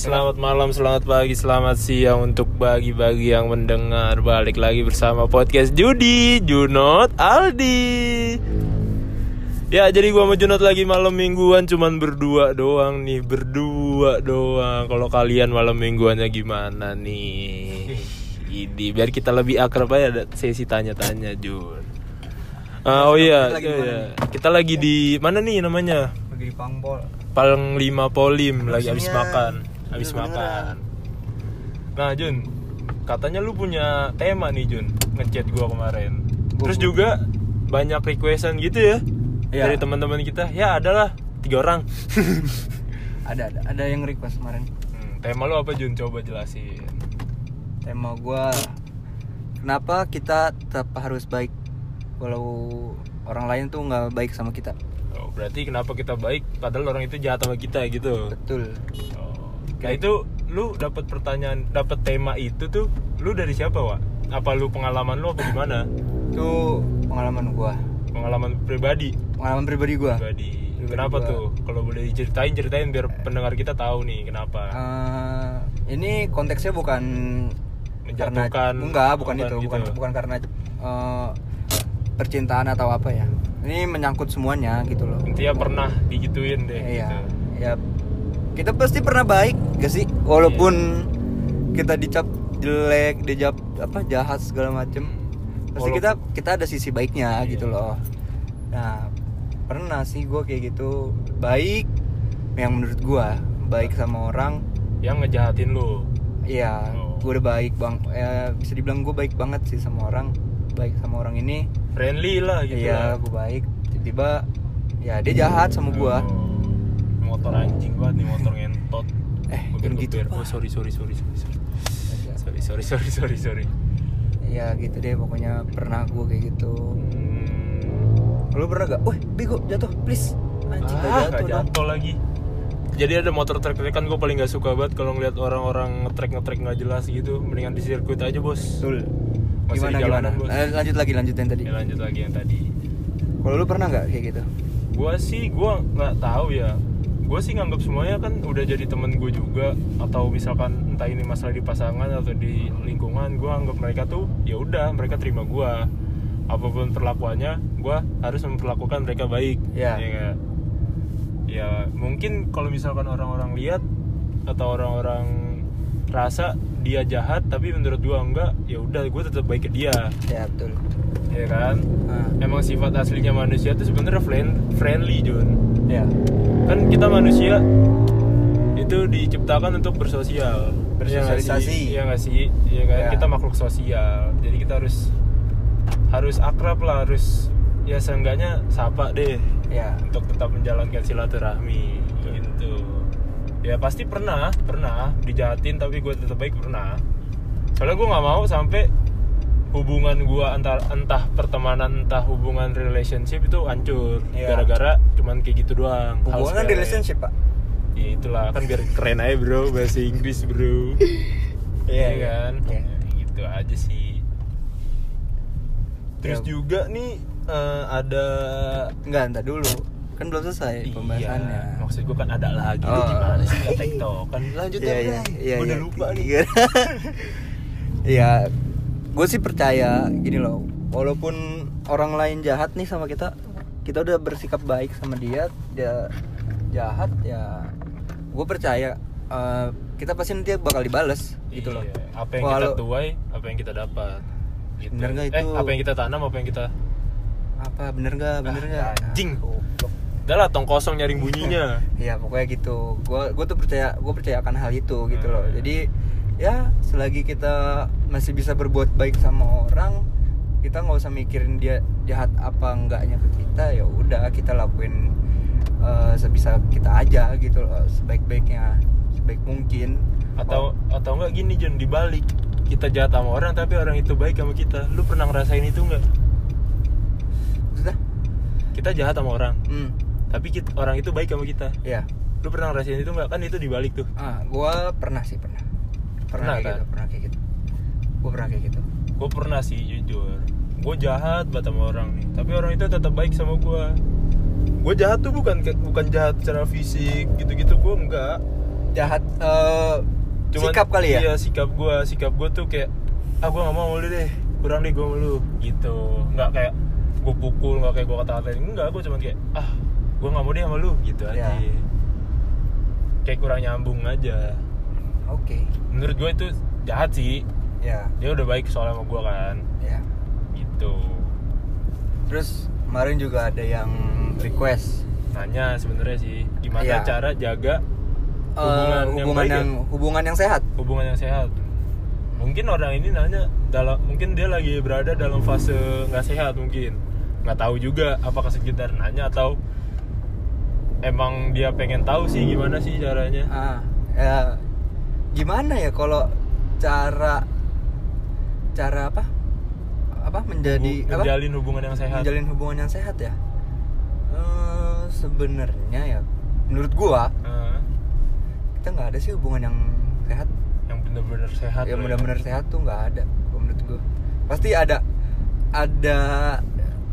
Selamat malam, selamat pagi, selamat siang untuk bagi-bagi yang mendengar balik lagi bersama podcast Judi, Junot, Aldi. Ya, jadi gua sama Junot lagi malam mingguan cuman berdua doang nih, berdua doang. Kalau kalian malam mingguannya gimana nih? Ini biar kita lebih akrab aja ada sesi tanya-tanya, Jun. Ah, oh iya, Kita lagi di iya, mana iya. kita lagi di mana nih namanya? lagi di Pangpol Panglima Polim lagi habis Habisinnya. makan, habis Bener-beneran. makan. Nah, Jun, katanya lu punya tema nih, Jun, ngechat gua kemarin. Gua Terus punya. juga banyak requestan gitu ya Iya. dari teman-teman kita. Ya, adalah tiga orang. ada ada ada yang request kemarin Hmm, tema lu apa, Jun? Coba jelasin. tema gua kenapa kita tetap harus baik walau orang lain tuh nggak baik sama kita Oh, berarti kenapa kita baik padahal orang itu jahat sama kita gitu. betul Oh. Nah, itu lu dapat pertanyaan, dapat tema itu tuh lu dari siapa, Wak? Apa lu pengalaman lu apa gimana? itu pengalaman gua Pengalaman pribadi. pengalaman pribadi gua pribadi. Pribadi Kenapa gua. tuh? Kalau boleh diceritain, ceritain biar pendengar kita tahu nih kenapa. Eh, ini konteksnya bukan karena Menjatuhkan, enggak bukan, bukan itu gitu. bukan bukan karena eh, percintaan atau apa ya ini menyangkut semuanya gitu loh Intinya pernah digituin deh. Iya. gitu. Ya. Kita pasti pernah baik gak sih? Walaupun Iya. kita dicap jelek, dicap apa jahat segala macem Hmm. Pasti Walaupun- kita kita ada sisi baiknya Iya. gitu loh. Nah, pernah sih gue kayak gitu baik yang menurut gue baik sama orang Yang ngejahatin lu. Iya, Oh. gue udah baik bang. Eh, bisa dibilang gue baik banget sih sama orang. Baik sama orang ini, Friendly lah gitu. Hmm. iya lah. gue baik. Tiba-tiba, ya dia jahat sama gue. Oh, motor anjing banget nih motor ngentot. Eh, Geber-geber. jangan gitu, Pak. Oh, sorry, sorry, sorry, sorry. sorry. Sorry, sorry, sorry, sorry, sorry. Ya gitu deh pokoknya pernah gue kayak gitu Hmm. Lu pernah gak? Wih bego jatuh please Anjing gak Ah, jatuh nggak dong jatuh lagi. Jadi ada motor trek kan gue paling gak suka banget kalau ngeliat orang-orang ngetrek ngetrek nggak jelas gitu. Mendingan di sirkuit aja bos. Masih Betul Gimana di gimana? jalanan, Bos. Eh, Lanjut lagi lanjutin tadi Ya, lanjut lagi yang tadi. Kalau lu pernah gak kayak gitu? gua sih gua nggak tahu ya gua sih nganggap semuanya kan udah jadi temen gue juga atau misalkan entah ini masalah di pasangan atau di lingkungan gua anggap mereka tuh ya udah mereka terima gua apapun perlakuannya gua harus memperlakukan mereka baik Iya Ya. nggak? ya mungkin kalau misalkan orang-orang lihat atau orang-orang rasa dia jahat tapi menurut gua enggak ya udah gua tetap baik ke dia Ya betul ya kan nah, emang sifat aslinya manusia tuh sebenarnya friend- friendly Jun Ya kan kita manusia itu diciptakan untuk bersosial Iya nggak sih? Bersosialisasi. iya nggak sih iya kan Iya. kita makhluk sosial jadi kita harus harus akrab lah harus ya seenggaknya sapa deh Ya untuk tetap menjalankan silaturahmi gitu ya pasti pernah pernah dijahatin tapi gue tetap baik pernah soalnya gue nggak mau sampai hubungan gue antar entah pertemanan entah hubungan relationship itu hancur Iya. gara-gara cuman kayak gitu doang Hal Hubungan kan sepele. relationship pak ya itulah kan biar keren aja bro bahasa Inggris bro Iya kan? Iya. Ya, Gitu aja sih. Terus Ya. juga nih eh, ada Enggak entar dulu Kan belum selesai pembahasannya Iya, maksud gue kan ada lagi Lu Oh. gimana sih nggak TikTok kan lanjut Iya, aja iya, Bray. iya, Gua udah iya. lupa nih Iya. Iya. Gue sih percaya gini loh. Walaupun orang lain jahat nih sama kita, kita udah bersikap baik sama dia, dia jahat ya. Gue percaya eh, kita pasti nanti bakal dibales gitu loh. Iya, apa yang Walau- kita tuai apa yang kita dapat gitu. Bener nggak eh itu? apa yang kita tanam apa yang kita Apa bener nggak? Bener Ah, nggak? Nah, anjing. Goblok. udah lah tong kosong nyaring bunyinya Iya pokoknya gitu. Gue gue tuh percaya gue percaya akan hal itu gitu loh. Hmm. Jadi ya selagi kita masih bisa berbuat baik sama orang, kita nggak usah mikirin dia jahat apa enggaknya ke kita. Ya udah kita lakuin eh, sebisa kita aja gitu loh, sebaik-baiknya, sebaik mungkin. Oh, atau atau enggak gini John dibalik kita jahat sama orang tapi orang itu baik sama kita lu pernah ngerasain itu enggak sudah? kita jahat sama orang Hmm, tapi kita, orang itu baik sama kita ya. lu pernah ngerasain itu nggak kan itu dibalik tuh Ah, gue pernah sih pernah. Pernah, kayak kan? gitu, pernah kayak gitu. Gue pernah kayak gitu. gue pernah sih jujur gue jahat banget sama orang nih tapi orang itu tetap baik sama gue gue jahat tuh bukan bukan jahat secara fisik gitu-gitu gue enggak jahat eh, Cuman- sikap kali ya iya sikap gua sikap gua tuh kayak ah gua nggak mau sama lu deh kurang deh gua sama lu gitu nggak kayak gua pukul nggak kayak gua kata-katain enggak gua cuman kayak ah gua nggak mau deh sama lu gitu Iya. aja kayak kurang nyambung aja oke menurut gua itu jahat sih ya dia udah baik soalnya sama gua kan ya gitu terus kemarin juga ada yang request nanya sebenarnya sih gimana Iya. cara jaga eh, Hubungan yang hubungan baik ya? yang hubungan yang sehat hubungan yang sehat mungkin orang ini nanya dalam mungkin dia lagi berada dalam fase nggak sehat mungkin nggak tahu juga apakah sekitar nanya atau emang dia pengen tahu sih gimana sih caranya Ah, ya, gimana ya kalau cara cara apa? Apa menjadi Hubu- apa? menjalin hubungan yang sehat Menjalin hubungan yang sehat ya? Eh, sebenarnya ya menurut gua Eh, kita nggak ada sih hubungan yang sehat. yang bener-bener sehat yang loh ya. benar-benar sehat tuh nggak ada kalau menurut gua. Pasti ada ada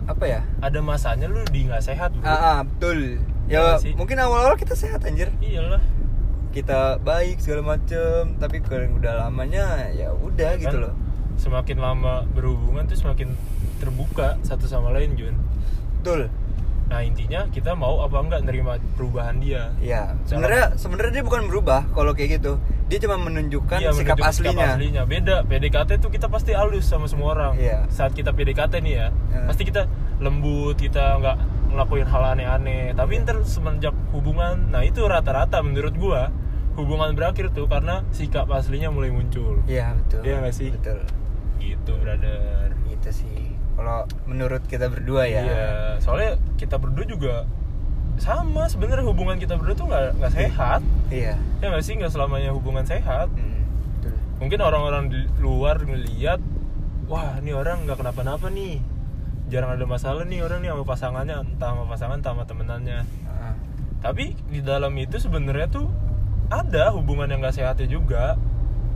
apa ya? ada masanya lu di nggak sehat bro Ah, ah, betul. Iya Ya sih. mungkin awal-awal kita sehat anjir. iyalah Kita baik segala macem tapi kalau udah lamanya ya udah gitu Kan loh. semakin lama berhubungan tuh semakin terbuka satu sama lain Jun Betul. nah intinya kita mau apa enggak nerima perubahan dia Ya, sebenarnya sebenarnya dia bukan berubah kalau kayak gitu. Dia cuma menunjukkan Iya, Kan sikap menunjuk aslinya. beda PDKT tuh kita pasti halus sama semua orang Iya. saat kita PDKT nih ya Iya. pasti kita lembut kita nggak ngelakuin hal aneh-aneh tapi Iya. ntar semenjak hubungan nah itu rata-rata menurut gua hubungan berakhir tuh karena sikap aslinya mulai muncul Iya, betul. Iya nggak sih? Betul. gitu brother Itu sih. Kalau menurut kita berdua ya. iya soalnya kita berdua juga sama sebenarnya hubungan kita berdua tuh nggak nggak sehat Iya. ya nggak sih nggak selamanya hubungan sehat Mm, betul. mungkin orang-orang di luar ngeliat wah ini orang nggak kenapa-napa nih jarang ada masalah nih orang nih sama pasangannya entah sama pasangan entah sama temenannya Ah, tapi di dalam itu sebenarnya tuh ada hubungan yang nggak sehatnya juga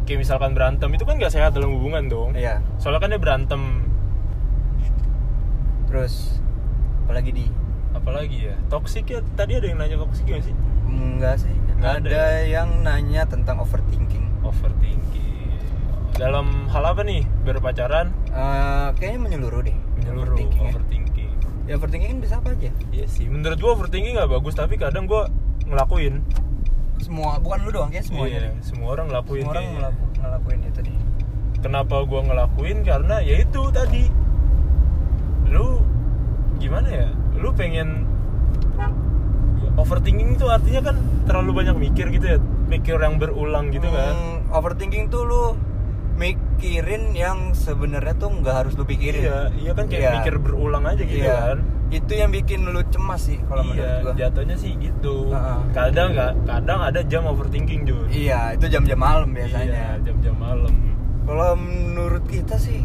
kayak misalkan berantem itu kan nggak sehat dalam hubungan dong Iya. soalnya kan dia berantem Terus apalagi di apalagi ya toksik ya tadi ada yang nanya toksik gak sih enggak sih. Nggak ada ya? ada, yang nanya tentang overthinking. overthinking dalam hal apa nih berpacaran Eh, kayaknya menyeluruh deh. menyeluruh Overthinking. ya. overthinking. Ya, overthinking kan bisa apa aja? Iya sih, menurut gua overthinking nggak bagus tapi kadang gua ngelakuin. Semua, bukan lu doang kayak Iya, semuanya. deh. semua orang ngelakuin. Semua orang kayaknya. ngelaku- ngelakuin itu deh. Kenapa gua ngelakuin? Karena ya itu tadi. Lu gimana ya? Lu pengen overthinking itu artinya kan terlalu banyak mikir gitu ya. Mikir yang berulang gitu kan. Hmm, overthinking tuh lu mikirin yang sebenarnya tuh nggak harus lu pikirin. Iya, iya kan kayak Iya. mikir berulang aja gitu Iya. kan. Itu yang bikin lu cemas sih kalau menurut iya, gua. jatuhnya sih gitu. Heeh. Kadang nggak, kadang ada jam overthinking Jun. Iya, itu jam-jam malam biasanya. Iya, jam-jam malam. Kalau menurut kita sih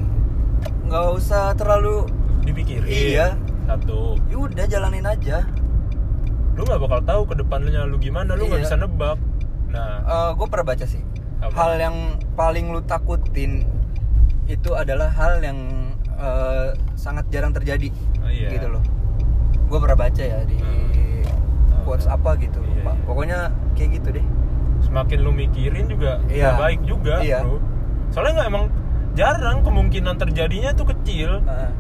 nggak usah terlalu dipikirin Iya. satu ya udah jalanin aja. lu nggak bakal tahu ke depannya lu gimana lu nggak bisa Iya. nebak nah gue Eh, pernah baca sih Apa? hal yang paling lu takutin itu adalah hal yang eh, sangat jarang terjadi Oh, iya. gitu loh gue pernah baca ya di Hmm. quotes apa gitu Iya, lupa. iya. pokoknya kayak gitu deh semakin lu mikirin juga Iya. nggak baik juga Iya. bro soalnya nggak emang jarang kemungkinan terjadinya tuh kecil Heeh.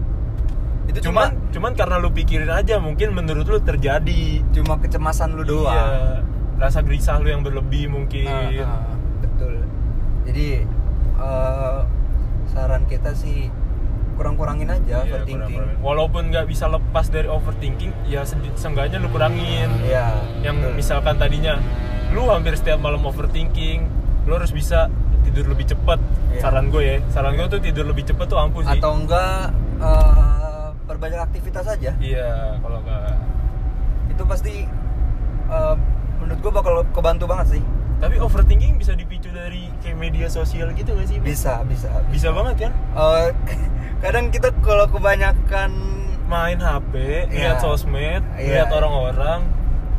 itu cuman cuma cuman karena lu pikirin aja mungkin menurut lu terjadi cuma kecemasan lu doang Iya. rasa gelisah lu yang berlebih mungkin Heeh, betul jadi eh, saran kita sih kurang-kurangin aja Iya, Ya, overthinking kurang-kurangin. walaupun nggak bisa lepas dari overthinking ya sedi- seenggaknya lu kurangin Iya, yang betul. misalkan tadinya lu hampir setiap malam overthinking lu harus bisa tidur lebih cepat Iya. saran gue ya saran gue tuh tidur lebih cepat tuh ampuh sih atau enggak eh, perbanyak aktivitas aja iya kalau nggak itu pasti eh, menurut gua bakal kebantu banget sih tapi overthinking bisa dipicu dari kayak media sosial gitu gak sih bisa bisa bisa banget kan Eh, kadang kita kalau kebanyakan main hp Iya. lihat sosmed Iya. lihat orang-orang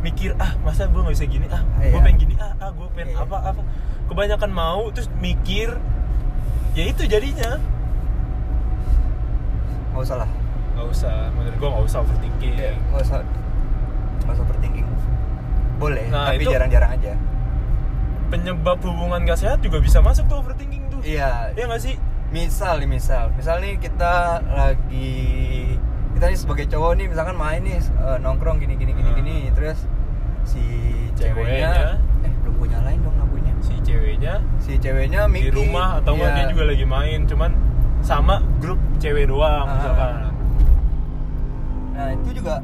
mikir ah masa gue nggak bisa gini ah gue Iya. pengen gini ah ah gue pengen Iya. apa apa kebanyakan mau terus mikir ya itu jadinya nggak usah lah nggak usah menurut gue nggak usah overthinking nggak usah nggak usah overthinking boleh Nah, tapi itu- jarang-jarang aja penyebab hubungan gak sehat juga bisa masuk tuh overthinking tuh iya Iya gak sih misal nih misal misal nih kita lagi kita nih sebagai cowok nih misalkan main nih eh, nongkrong gini gini gini Hmm. gini terus si Ceweknya. ceweknya eh belum gue nyalain dong lampunya si ceweknya si ceweknya di mikir Iya. rumah atau enggak dia juga lagi main cuman sama grup cewek doang Ah. misalkan nah itu juga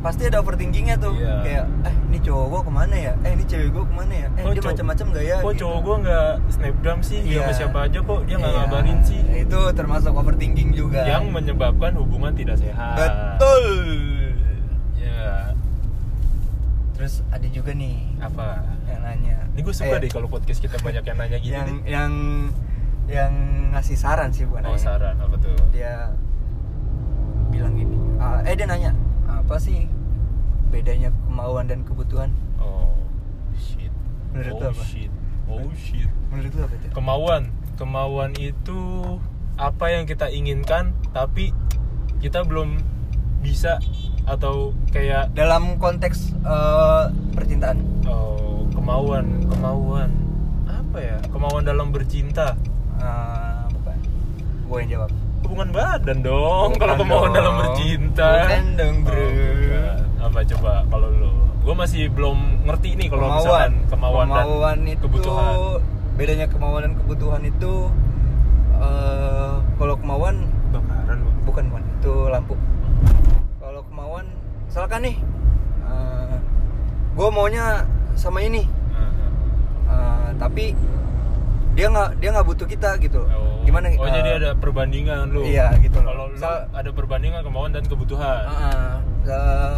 pasti ada overthinkingnya tuh Iya. kayak eh ini cowok gue kemana ya eh ini cewek gue kemana ya eh dia Oh, cow- macam-macam gak ya kok Gitu. cowok gue nggak snapgram sih dia Iya. sama siapa aja kok dia nggak Iya. ngabarin sih itu termasuk overthinking juga Nah. yang menyebabkan hubungan tidak sehat betul ya terus ada juga nih apa yang nanya ini gue suka Eh, deh kalau podcast kita banyak yang nanya gitu yang ya? nih. yang yang ngasih saran sih bukan oh nanya. saran apa tuh dia bilang gini ah, eh dia nanya apa sih bedanya kemauan dan kebutuhan oh shit Menurut oh lu apa? shit oh shit menurut lu apa itu kemauan kemauan itu apa yang kita inginkan tapi kita belum bisa atau kayak dalam konteks eh, percintaan oh, kemauan kemauan apa ya kemauan dalam bercinta Eh, bukan gue yang jawab hubungan badan dong Bukan kalau kemauan dong. dalam bercinta Bukan dong, bro. Oh, bukan. apa coba kalau lo gue masih belum ngerti nih kalau misalkan kemauan, Kemauan dan itu kebutuhan bedanya kemauan dan kebutuhan itu eh kalau kemauan bakaran Bang. bukan bukan itu lampu kalau kemauan misalkan nih gue maunya sama ini eh, tapi dia nggak dia nggak butuh kita gitu Oh. gimana Oh eh, jadi ada perbandingan lu. iya, gitu loh. Kalau lu Misal- ada perbandingan kemauan dan kebutuhan. eh, eh,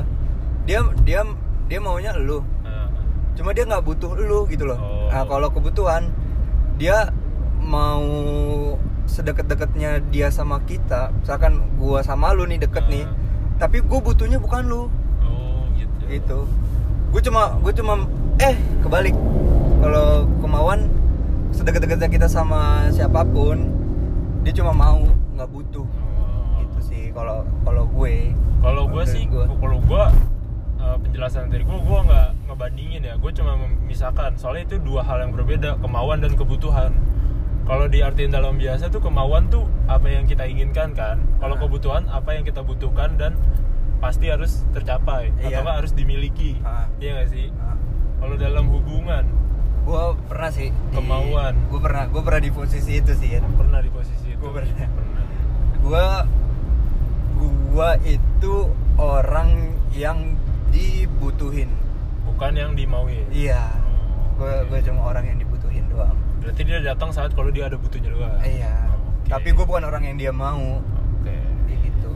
dia dia dia maunya lu Nah, cuma dia nggak butuh lu gitu loh Oh. nah kalau kebutuhan dia mau sedekat-dekatnya dia sama kita misalkan gua sama lu nih deket Ah. nih tapi gua butuhnya bukan lu Oh gitu. gitu gua cuma gua cuma eh kebalik kalau kemauan sedekat-dekatnya kita sama siapapun dia cuma mau nggak butuh Oh. gitu sih kalau kalau gue Kalau gue Menurut sih, gua. kalau gue eh, penjelasan dari gue, gue nggak ngebandingin ya. Gue cuma memisahkan. Soalnya itu dua hal yang berbeda, kemauan dan kebutuhan. Kalau diartiin dalam biasa tuh kemauan tuh apa yang kita inginkan kan. Kalau Ah. kebutuhan apa yang kita butuhkan dan pasti harus tercapai Iya. atau nggak harus dimiliki. Ah. Iya nggak sih? Ah. Kalau dalam hubungan gue pernah sih di- Kemauan. gue pernah gue pernah di posisi itu sih ya pernah di posisi itu. Gua pernah. pernah. gua gua itu orang yang dibutuhin Bukan yang dimauin. Oh, iya gua Oke. gua cuma orang yang dibutuhin doang Berarti dia datang saat kalau dia ada butuhnya doang. Ah. iya Oke. tapi gua bukan orang yang dia mau Oke. kayak gitu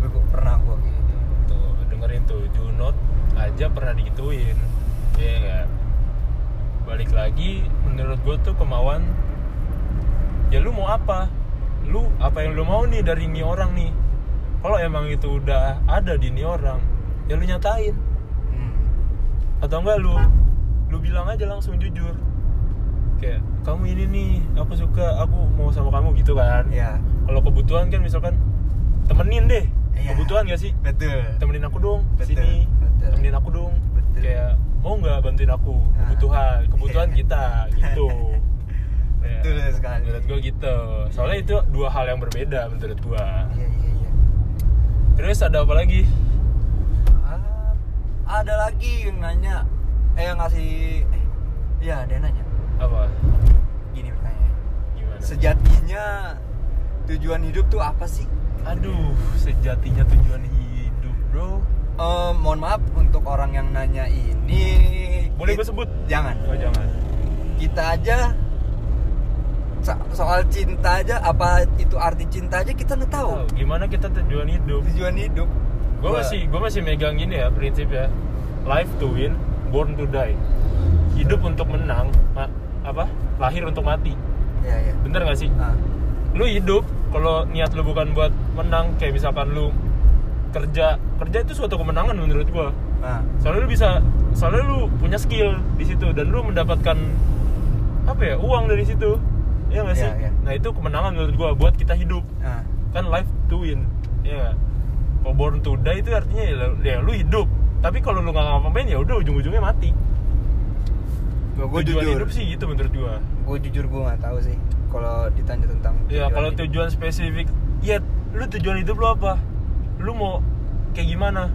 gua, gua- pernah gua kayak gitu Tuh, dengerin tuh Junot aja pernah digituin. Iya nggak? Balik lagi menurut gue tuh kemauan ya lu mau apa? Lu apa yang lu mau nih dari ini orang nih? Kalau emang itu udah ada di ini orang, ya lu nyatain Hmm. atau enggak lu lu bilang aja langsung jujur kayak kamu ini nih aku suka aku mau sama kamu gitu kan iya kalau kebutuhan kan misalkan temenin deh Iya. kebutuhan gak sih betul temenin aku dong Betul, sini betul. temenin aku dong Betul. kayak mau nggak bantuin aku Ah. kebutuhan kebutuhan Iya. kita gitu Ya, Betul sekali. menurut gua gitu soalnya itu dua hal yang berbeda menurut gua iya iya iya terus ada apa lagi Ah, ada lagi yang nanya eh yang ngasih eh, iya dia nanya apa gini pertanyaannya gimana sejatinya tujuan hidup tuh apa sih? aduh sejatinya tujuan hidup bro Eh, mohon maaf untuk orang yang nanya ini. Boleh gue kit- sebut? Jangan. Oh jangan. Kita aja so- soal cinta aja apa itu arti cinta aja kita nggak Oh, tahu. gimana kita tujuan hidup? Tujuan hidup. Gue Gua- masih gue masih megang gini ya prinsip ya. Life to win, born to die. Hidup untuk menang, ma- apa? Lahir untuk mati. Iya iya. Bener gak sih? Ah, Lu hidup kalau niat lu bukan buat menang, kayak misalkan lu kerja kerja itu suatu kemenangan menurut gua. ah, Soalnya lu bisa, soalnya lu punya skill di situ dan lu mendapatkan apa ya uang dari situ. Iya gak sih? Iya, iya. Nah itu kemenangan menurut gua buat kita hidup. ah. kan life to win ya nggak? kalau born to die itu artinya ya, lu- ya lu hidup tapi kalau lu nggak ngapa-ngapain ya udah ujung-ujungnya mati gue tujuan jujur hidup sih gitu menurut gua gue jujur gue nggak tahu sih kalau ditanya tentang ya tujuan kalau hidup. tujuan spesifik ya lu tujuan hidup lu apa lu mau kayak gimana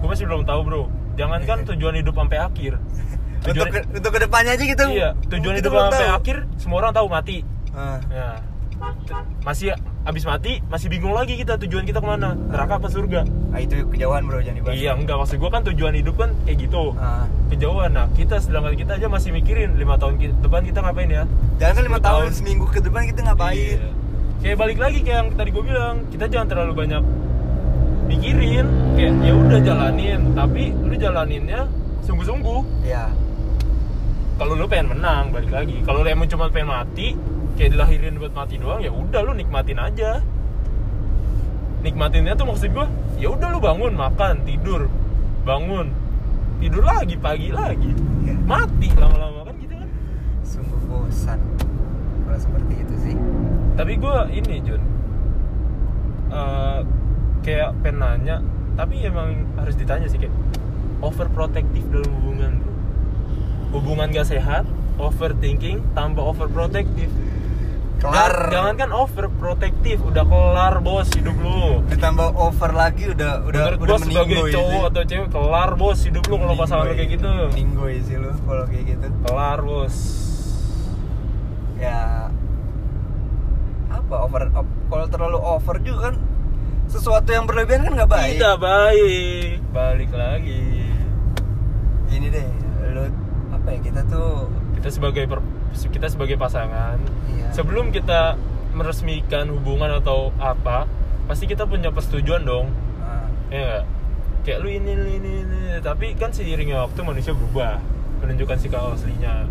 gue masih belum tahu bro jangankan tujuan hidup sampai akhir Iya. untuk ke, untuk kedepannya aja gitu iya tujuan kita hidup belum sampai tahu. akhir semua orang tahu mati Ah, ya T- masih abis mati masih bingung lagi kita tujuan kita kemana neraka apa surga ah, itu kejauhan bro jangan dibahas iya enggak maksud gue kan tujuan hidup kan kayak gitu Ah, kejauhan nah kita sedangkan kita aja masih mikirin lima tahun ki- depan kita ngapain ya jangan kan lima Sepuluh tahun tahun. seminggu ke depan kita ngapain Iya. kayak balik lagi kayak yang tadi gue bilang kita jangan terlalu banyak mikirin kayak ya udah jalanin tapi lu jalaninnya sungguh-sungguh ya kalau lu pengen menang balik lagi kalau lu emang cuma pengen mati kayak dilahirin buat mati doang ya udah lu nikmatin aja nikmatinnya tuh maksud gue ya udah lu bangun makan tidur bangun tidur lagi pagi lagi Iya. mati lama-lama kan gitu kan sungguh bosan kalau seperti itu sih tapi gue ini Jun Eh, kayak pengen nanya tapi emang harus ditanya sih kayak overprotective dalam hubungan bro hubungan gak sehat overthinking tambah overprotective kelar jangan kan overprotective udah kelar bos hidup lu ditambah over lagi udah udah Menurut udah gua sebagai meninggoy cowok atau cewek kelar bos hidup lu kalau pasangan lu kayak gitu Meninggoy sih lu kalau kayak gitu kelar bos ya apa over op- kalau terlalu over juga kan sesuatu yang berlebihan kan nggak baik tidak baik balik lagi ini deh lu apa ya kita tuh kita sebagai per- kita sebagai pasangan iya sebelum kita meresmikan hubungan atau apa pasti kita punya persetujuan dong Ah, ya nggak? kayak lu ini lu ini, ini. tapi kan seiringnya waktu manusia berubah menunjukkan sikap aslinya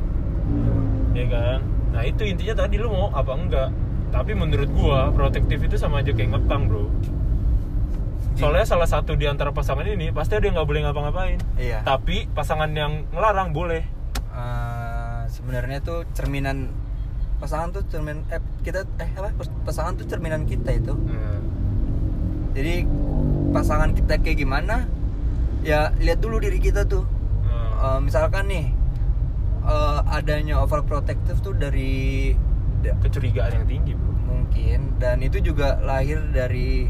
ya kan nah itu intinya tadi lu mau apa enggak tapi menurut gua protektif itu sama aja kayak ngepang bro soalnya salah satu di antara pasangan ini pasti ada yang nggak boleh ngapa-ngapain iya tapi pasangan yang ngelarang boleh Ah, sebenarnya tuh cerminan pasangan tuh cermin eh kita eh apa pasangan tuh cerminan kita itu jadi pasangan kita kayak gimana ya lihat dulu diri kita tuh Nah, Eh, misalkan nih eh, adanya overprotective tuh dari da- kecurigaan yang tinggi bro mungkin dan itu juga lahir dari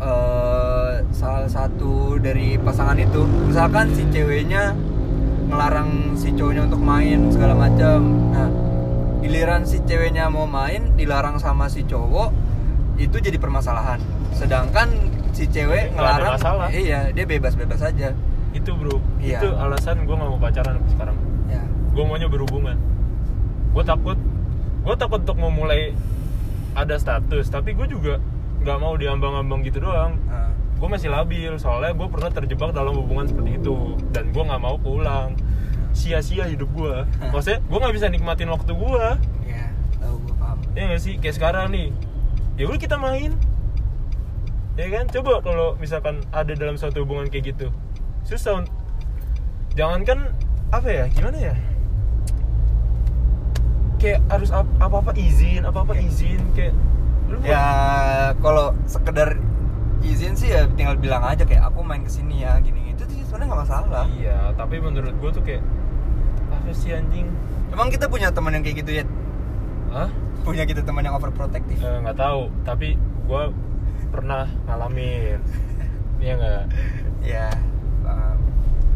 eh, salah satu dari pasangan itu misalkan si ceweknya ngelarang si cowoknya untuk main segala macam nah giliran si ceweknya mau main dilarang sama si cowok itu jadi permasalahan sedangkan Nggak si ada cewek ngelarang masalah. iya dia bebas-bebas aja itu bro Iya. itu alasan gue nggak mau pacaran sampai sekarang ya gue maunya berhubungan gue takut gue takut untuk memulai ada status tapi gue juga nggak mau diambang-ambang gitu doang ah, gue masih labil soalnya gue pernah terjebak dalam hubungan seperti itu dan gue nggak mau pulang sia-sia hidup gue maksudnya gue nggak bisa nikmatin waktu gue ya tahu gue paham ya nggak sih kayak sekarang nih ya udah kita main ya kan coba kalau misalkan ada dalam suatu hubungan kayak gitu susah un- jangankan apa ya gimana ya kayak harus apa apa izin apa apa izin kayak lu ya kalau sekedar izin sih ya tinggal bilang aja kayak aku main kesini ya gini itu sih sebenarnya nggak masalah iya tapi menurut gue tuh kayak apa sih anjing emang kita punya teman yang kayak gitu ya Hah? punya kita teman yang overprotective Eh, nggak tahu tapi gue pernah ngalamin Iya nggak ya paham.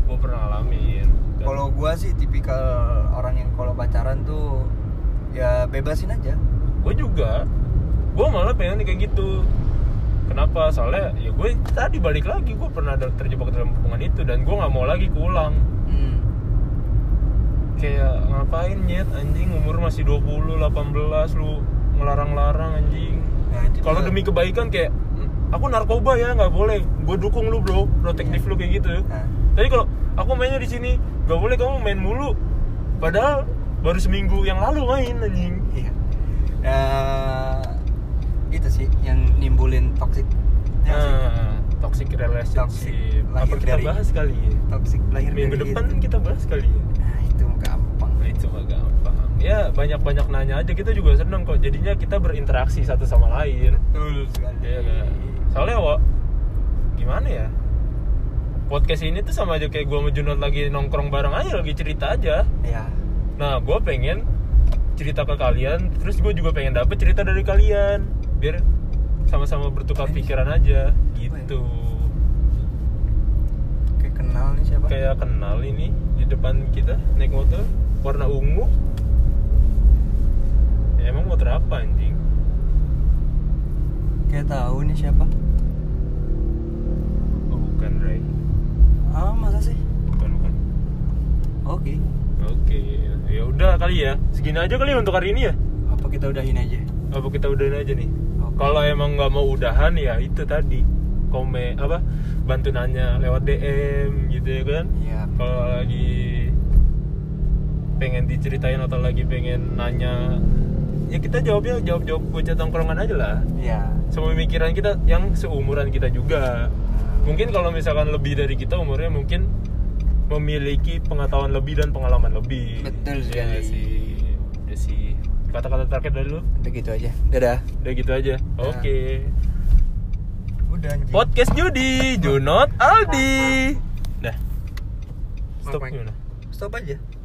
gue pernah ngalamin Dan- kalau gua sih tipikal orang yang kalau pacaran tuh ya bebasin aja gue juga gue malah pengen kayak gitu kenapa soalnya ya gue tadi balik lagi gue pernah ada terjebak dalam hubungan itu dan gue nggak mau lagi kulang hmm. kayak ngapain nyet anjing umur masih 20 18 lu ngelarang-larang anjing Nah, itu kalau juga- demi kebaikan kayak "Hmm, aku narkoba ya nggak boleh gue dukung lu bro protektif lu kayak gitu Nah, tapi kalau aku mainnya di sini nggak boleh kamu main mulu padahal baru seminggu yang lalu main anjing iya Nah, itu sih yang nimbulin toxic ya, sih? Ah, toxic relationship. Toxic. Apa Lahir kita dari- bahas kali ya? toxic lahir Minggu dari depan itu. kita bahas kali ya? Nah, itu gampang Nah, itu mah gampang. Ya banyak-banyak nanya aja kita juga seneng kok. Jadinya kita berinteraksi satu sama lain. betul sekali Iya kan? Soalnya Wak, gimana ya? Podcast ini tuh sama aja kayak gua sama Junot lagi nongkrong bareng aja lagi cerita aja. ya Nah, gue pengen cerita ke kalian, terus gue juga pengen dapet cerita dari kalian, biar sama-sama bertukar Oke. pikiran aja, ya? gitu. kayak kenal nih siapa Kayak kenal ini di depan kita naik motor warna ungu. Ya, emang motor apa anjing? kayak tahu nih siapa Oh, bukan Ray, ah masa sih bukan bukan. oke Oke, ya udah kali ya. Segini aja kali untuk hari ini ya. apa kita udahin aja Apa kita udahin aja nih? Oke. Kalau emang nggak mau udahan ya itu tadi komen apa bantu nanya lewat DM gitu ya kan. Iya. Kalau lagi pengen diceritain atau lagi pengen nanya ya kita jawabnya jawab jawab bocah tongkrongan aja lah Iya. sama pemikiran kita yang seumuran kita juga mungkin kalau misalkan lebih dari kita umurnya mungkin memiliki pengetahuan lebih dan pengalaman lebih Betul Ya sekali. nggak sih Ya sih kata-kata terakhir dari lu udah gitu aja dadah udah gitu aja oke udah anjing podcast Judi Junot Aldi dah stop Ngapain? gimana stop aja